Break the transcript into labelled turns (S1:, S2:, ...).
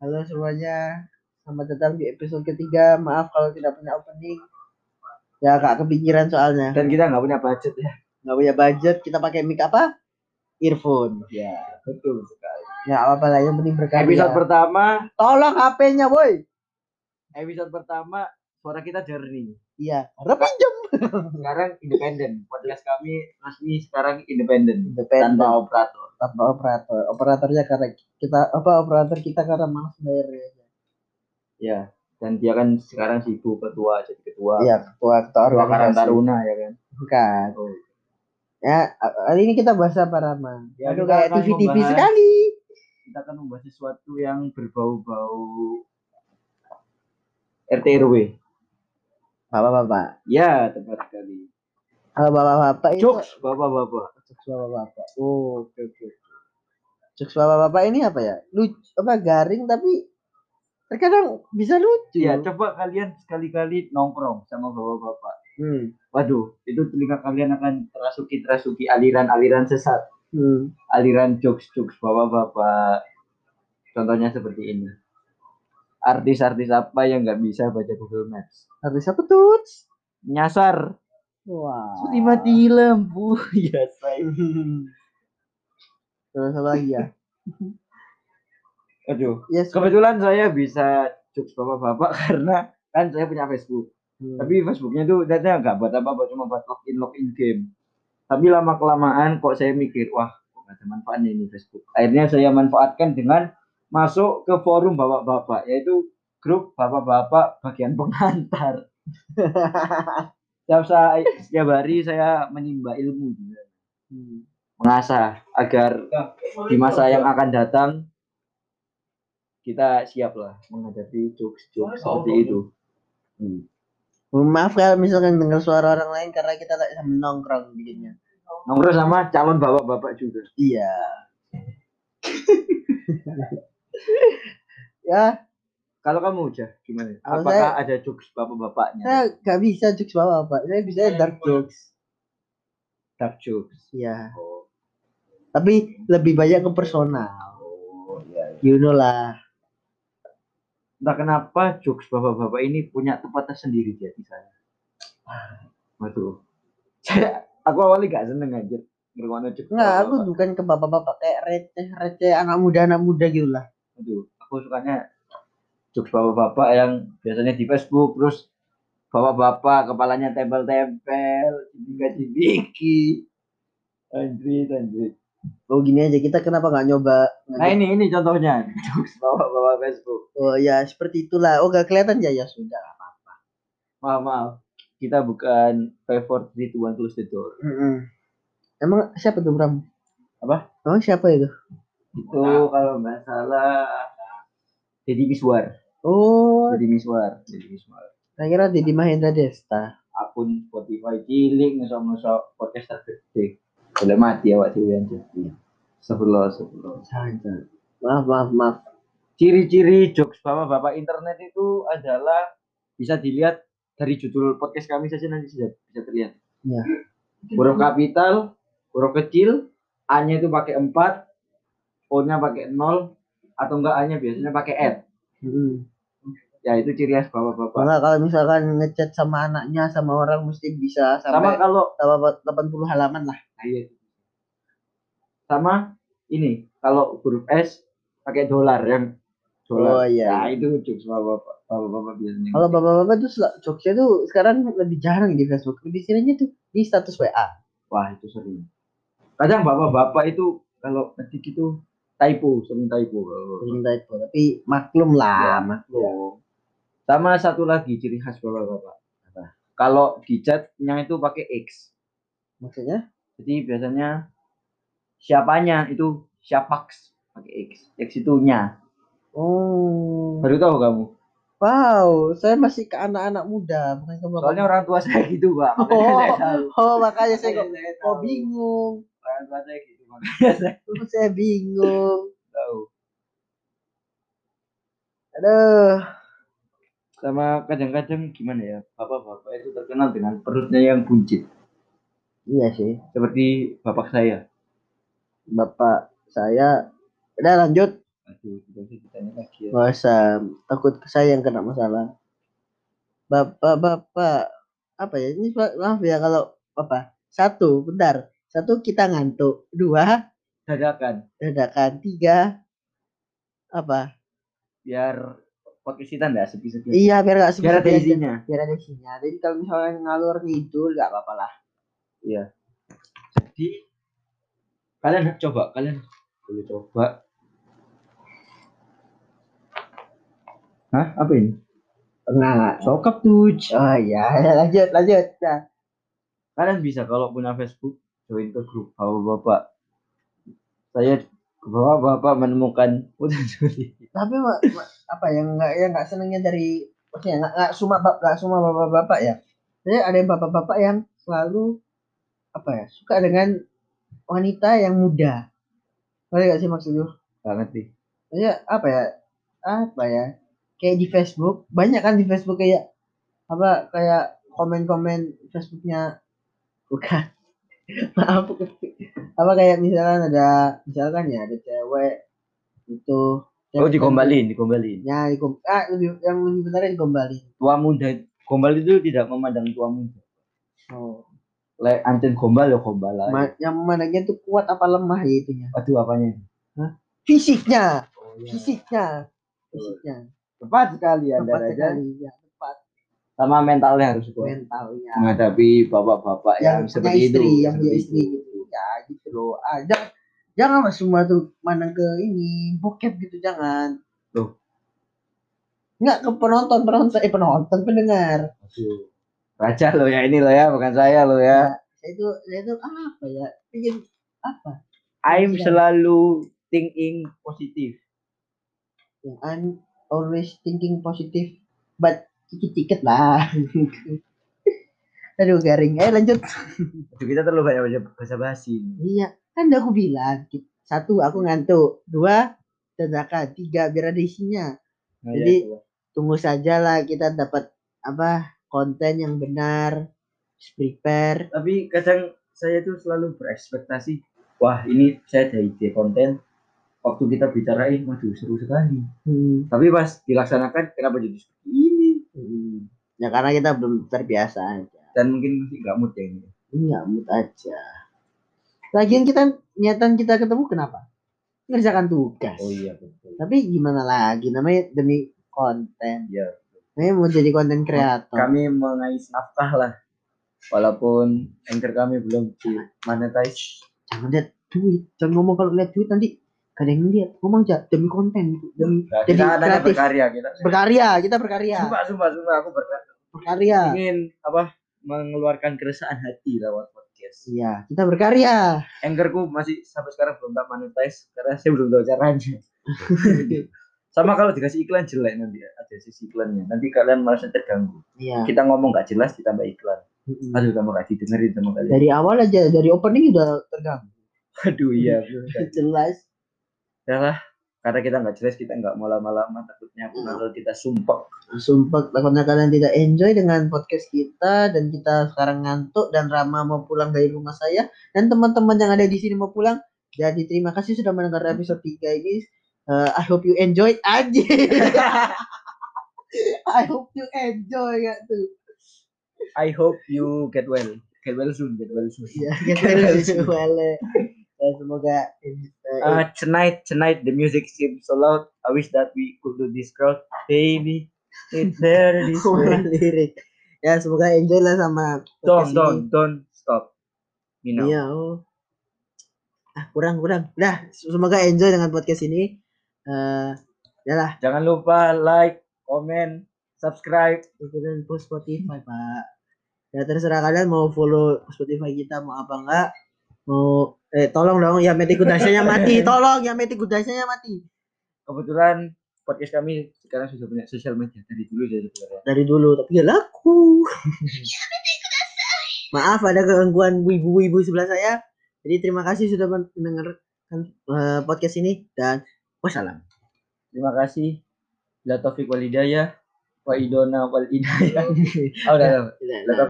S1: Halo semuanya, selamat datang di episode ketiga. Maaf kalau tidak punya opening. Ya agak kepikiran soalnya.
S2: Dan kita nggak punya budget ya.
S1: Nggak punya budget, kita pakai mic apa? Earphone.
S2: Ya, betul sekali. Iya.
S1: Ya apa lah, yang penting berkarya.
S2: Episode pertama,
S1: Tolong HP-nya, boy.
S2: episode pertama suara kita jernih.
S1: Iya, repinjam.
S2: Sekarang independen. Podcast kami resmi sekarang independen
S1: Independen
S2: tanpa operator.
S1: tanpa operator. Operatornya karena kita apa operator kita karena malas bayar.
S2: Ya, dan dia kan sekarang sibuk ketua jadi ketua.
S1: Iya, ketua ketua
S2: Ketua Karang
S1: organisasi.
S2: Taruna ya kan.
S1: Bukan.
S2: Oh.
S1: Ya, hari ini kita bahas apa, Rama?
S2: Ya,
S1: Aduh,
S2: kita
S1: kayak
S2: akan
S1: TV-TV
S2: membahas-
S1: sekali.
S2: Kita akan membahas sesuatu yang berbau-bau RTRW.
S1: Bapak-bapak.
S2: Ya, tepat sekali.
S1: Kalau bapak-bapak itu...
S2: Jokes, bapak-bapak.
S1: Jokes bapak-bapak. Oh, oke oke. Jokes bapak-bapak ini apa ya? Lucu apa garing tapi terkadang bisa lucu.
S2: Ya, coba kalian sekali-kali nongkrong sama bapak-bapak.
S1: Hmm.
S2: Waduh, itu telinga kalian akan terasuki-terasuki aliran-aliran sesat,
S1: hmm.
S2: aliran jokes-jokes bapak-bapak. Contohnya seperti ini. Artis-artis apa yang nggak bisa baca Google Maps?
S1: Habis apa tuh?
S2: Nyasar.
S1: Wah.
S2: Sudah mati lampu. Ya, saya.
S1: Terus apa lagi ya?
S2: Aduh.
S1: Yes.
S2: Kebetulan saya bisa jokes bapak-bapak karena kan saya punya Facebook.
S1: Hmm.
S2: Tapi Facebooknya tuh ternyata nggak buat apa-apa, cuma buat login-login game. Tapi lama-kelamaan kok saya mikir, wah kok nggak ada manfaatnya ini Facebook. Akhirnya saya manfaatkan dengan masuk ke forum bapak-bapak, yaitu grup bapak-bapak bagian pengantar. setiap, saya, setiap hari saya menimba ilmu,
S1: Hmm.
S2: mengasah agar di masa yang akan datang kita siaplah menghadapi jokes-jokes seperti itu. Hmm.
S1: Mohon Maaf kalau misalkan dengar suara orang lain karena kita tak bisa menongkrong bikinnya.
S2: Nongkrong sama calon bapak-bapak juga.
S1: Iya. ya,
S2: Kalau kamu udah gimana?
S1: Kalau
S2: Apakah ada jokes bapak-bapaknya?
S1: saya nggak bisa jokes bapak-bapak. Saya bisa dark jokes.
S2: Dark jokes.
S1: Iya.
S2: Oh,
S1: tapi lebih banyak ke personal
S2: oh iya.
S1: you know lah
S2: Entah kenapa jokes bapak-bapak ini punya tempat tersendiri di hati saya. Waduh. Saya, aku awalnya gak seneng aja. Ngerwana jokes
S1: nggak aku
S2: bapak-bapak.
S1: bukan ke bapak-bapak kayak receh receh anak muda anak muda gitu lah
S2: Aduh, aku sukanya jokes bapak-bapak yang biasanya di Facebook. Terus bapak-bapak kepalanya tempel-tempel. Cibika-cibiki. Anjrit, anjrit.
S1: oh gini aja kita kenapa nggak nyoba nggak
S2: Nah ini ini contohnya jokes bawa bawa Facebook.
S1: nyoba. oh ya seperti itulah oh gak kelihatan ya ya sudah nggak apa-apa
S2: Maaf maaf kita bukan five four three two one close the door.
S1: Mm-mm. emang siapa tuh Bram
S2: Apa?
S1: emang siapa itu
S2: Itu kalau nggak salah Deddy Miswar,
S1: oh
S2: Deddy Miswar, Deddy Miswar.
S1: saya kira Deddy Mahendra Desta
S2: Akun Spotify cilik ngesok ngesok podcast tergede. Boleh mati ya Pak Dewi aja. Sebelum sebelum.
S1: Jangan. maaf maaf maaf
S2: Ciri-ciri jokes bapak bapak internet itu adalah bisa dilihat dari judul podcast kami saja nanti sudah bisa terlihat.
S1: ya
S2: huruf kapital, huruf kecil, A-nya itu pakai 4, O-nya pakai 0, atau enggak A-nya biasanya pakai N.
S1: Mm-mm.
S2: Ya itu ciri khas bapak-bapak.
S1: Malah kalau misalkan ngechat sama anaknya sama orang mesti bisa sampai
S2: Sama kalau Nah, iya.
S1: sama 80 halaman lah.
S2: sama ini, kalau huruf S pakai dolar yang dolar.
S1: Oh, iya,
S2: Nah,
S1: iya.
S2: itu jokes bapak-bapak. Bapak-bapak biasanya.
S1: Kalau bapak-bapak tuh sel- jokesnya tuh sekarang lebih jarang di Facebook. Lebih seringnya tuh di status WA.
S2: Wah, itu sering. Kadang bapak-bapak itu kalau ngetik itu typo, sering typo.
S1: Sering typo, Tapi maklum lah,
S2: Ya.
S1: maklum.
S2: Sama satu lagi ciri khas bapak-bapak.
S1: Apa?
S2: Kalau di chat yang itu pakai X.
S1: Maksudnya?
S2: Jadi biasanya siapanya itu siapaks pakai X. X itu nya.
S1: Oh.
S2: Baru tahu kamu.
S1: Wow, saya masih ke anak-anak muda, bukan ke bapak.
S2: Soalnya orang tua saya gitu, Pak. Makanya
S1: Oh.
S2: saya tahu.
S1: Oh, makanya saya kok
S2: Makanya saya
S1: kok
S2: tahu.
S1: bingung.
S2: Orang tua saya gitu, makanya saya
S1: Terus saya bingung.
S2: tahu.
S1: Aduh.
S2: Sama kadang-kadang gimana ya? Bapak-bapak itu terkenal dengan perutnya yang buncit.
S1: Iya sih.
S2: Seperti bapak saya.
S1: Bapak saya udah lanjut.
S2: Aduh, tidak usah ditanya lagi ya.
S1: Nggak usah, takut saya yang kena masalah. Bapak, bapak, apa ya? Ini ma- maaf ya kalau apa? Satu, bentar. Satu kita ngantuk. Dua,
S2: Dadakan,
S1: dadakan. Tiga, apa?
S2: biar podcast kita enggak sepi-sepi.
S1: Iya, biar nggak
S2: Ya. Biar ada
S1: sepi-sepi aja.
S2: isinya.
S1: Biar ada isinya. Jadi kalau misalnya ngalur ngidul nggak apa-apa lah.
S2: Jadi kalian coba, kalian boleh coba. Hah? Apa ini?
S1: Enggak.
S2: Sokap tuh.
S1: Oh iya, lanjut, lanjut. Nah,
S2: kalian bisa kalau punya Facebook join ke grup bapak-bapak saya bapak-bapak menemukan hutan suri
S1: tapi ma- ma- apa yang nggak yang nggak senengnya dari maksudnya nggak nggak semua bap- nggak semua bapak-bapak ya. Jadi ada yang bapak-bapak yang selalu apa ya suka dengan wanita yang muda. Ngerti nggak sih maksud gue?
S2: nggak ngerti
S1: Maksudnya apa ya? Apa ya? Kayak di Facebook banyak kan di Facebook kayak apa kayak komen-komen Facebooknya bukan maaf apa kayak misalkan ada misalkan ya ada cewek gitu. itu
S2: oh digombalin digombalin
S1: ya dikom ah lebih yang lebih benarnya digombalin
S2: tua muda gombal itu tidak memandang tua muda
S1: oh
S2: lek anten gombal ya gombal lah
S1: Ma- yang mananya tuh kuat apa lemah ya itunya
S2: aduh apanya ini?
S1: fisiknya
S2: oh,
S1: fisiknya fisiknya
S2: tepat sekali anda
S1: tepat
S2: Raja.
S1: sekali ya tepat
S2: sama mentalnya harus kuat
S1: mentalnya
S2: menghadapi bapak-bapak
S1: yang
S2: yang,
S1: punya
S2: seperti
S1: istri
S2: itu
S1: yang punya
S2: seperti
S1: istri
S2: itu.
S1: gitu ya gitu loh ah, jangan jangan mas semua tuh mandang ke ini bokep gitu jangan
S2: Loh.
S1: nggak ke penonton penonton eh penonton pendengar
S2: Aduh. raja lo ya ini lo ya bukan saya lo
S1: Iya.
S2: ya
S1: saya itu saya itu apa ya ingin apa Iya.
S2: I'm selalu thinking positif
S1: Yeah, I'm always thinking positive, but dikit-dikit lah. Aduh garing. Eh lanjut.
S2: Aduh, kita terlalu banyak bahasa- bahasa basi ini.
S1: Iya, kan udah aku bilang. ki- Satu, aku ngantuk. Dua, dadakan. Tiga, biar ada isinya.
S2: Nah,
S1: Jadi,
S2: ya, coba.
S1: Tunggu sajalah kita dapat apa konten yang benar. Just prepare.
S2: tapi kadang saya tuh selalu berekspektasi wah ini saya ada ide konten waktu kita bicarain waduh seru sekali
S1: Hmm.
S2: tapi pas dilaksanakan kenapa jadi seperti ini
S1: Hmm. Ya karena kita belum terbiasa aja.
S2: dan mungkin masih nggak mood ya ini
S1: Enggak mood aja. Lagian kita niatan kita ketemu kenapa? Ngerjakan tugas.
S2: Oh iya. betul
S1: tapi gimana lagi namanya demi konten
S2: Iya. kan-
S1: namanya mau jadi konten kreator
S2: kami mengais nafkah lah walaupun anchor kami belum di monetize
S1: jangan lihat duit jangan ngomong kalau lihat duit nanti gak ada yang lihat ngomong aja demi konten gitu. demi
S2: nah,
S1: jadi
S2: kita ada
S1: kreatif
S2: berkarya kita
S1: berkarya kita berkarya
S2: sumpah sumpah sumpah aku berkarya
S1: berkarya
S2: ingin apa mengeluarkan keresahan hati lewat podcast
S1: iya kita berkarya
S2: Anchorku masih sampai sekarang belum tak monetize karena saya belum tahu caranya. Sama kalau dikasih iklan jelek nanti ya, ada sisi iklannya. Nanti kalian merasa terganggu.
S1: iya
S2: Kita ngomong nggak jelas ditambah iklan.
S1: Mm-mm.
S2: Aduh, tambah nggak didengerin sama kalian.
S1: dari awal aja dari opening udah terganggu
S2: Aduh iya.
S1: jelas
S2: Ya lah, karena kita nggak jelas kita nggak mau lama-lama takutnya kalau kita sumpah.
S1: sumpah takutnya kalian tidak enjoy dengan podcast kita dan kita sekarang ngantuk dan Rama mau pulang dari rumah saya dan teman-teman yang ada di sini mau pulang jadi terima kasih sudah mendengar episode 3 ini Eh, I hope you enjoy aja I hope you enjoy ya tuh
S2: I hope you get well. Get well soon, get well soon.
S1: ya kita harus boleh. Ya, semoga eh,
S2: Uh, tonight, tonight the music seems so loud. I wish that we could do this crowd, baby. It's there this way.
S1: Kemarin lirik ya semoga enjoy lah sama
S2: Don't,
S1: podcast
S2: don't,
S1: ini.
S2: don't stop. You know.
S1: Iya, oh. Ah, kurang kurang. Dah, semoga enjoy dengan podcast ini. Eh, yalah,
S2: Jangan lupa like, comment, subscribe.
S1: ikutin post Spotify, Pak. Ya terserah kalian mau follow Spotify kita mau apa enggak. Mau eh tolong dong ya Meti Kudasanya mati, tolong ya Meti Kudasanya mati.
S2: Kebetulan podcast kami sekarang sudah punya sosial media dari dulu dari sebenarnya.
S1: Dari dulu tapi ya laku. Maaf ada gangguan ibu-ibu sebelah saya. Jadi terima kasih sudah mendengarkan eh, podcast ini dan wassalam.
S2: Terima kasih. La Taufik wal Hidayah. Wa idona wal hidayah. Oh, udah, udah.
S1: Tidak,
S2: La Taufik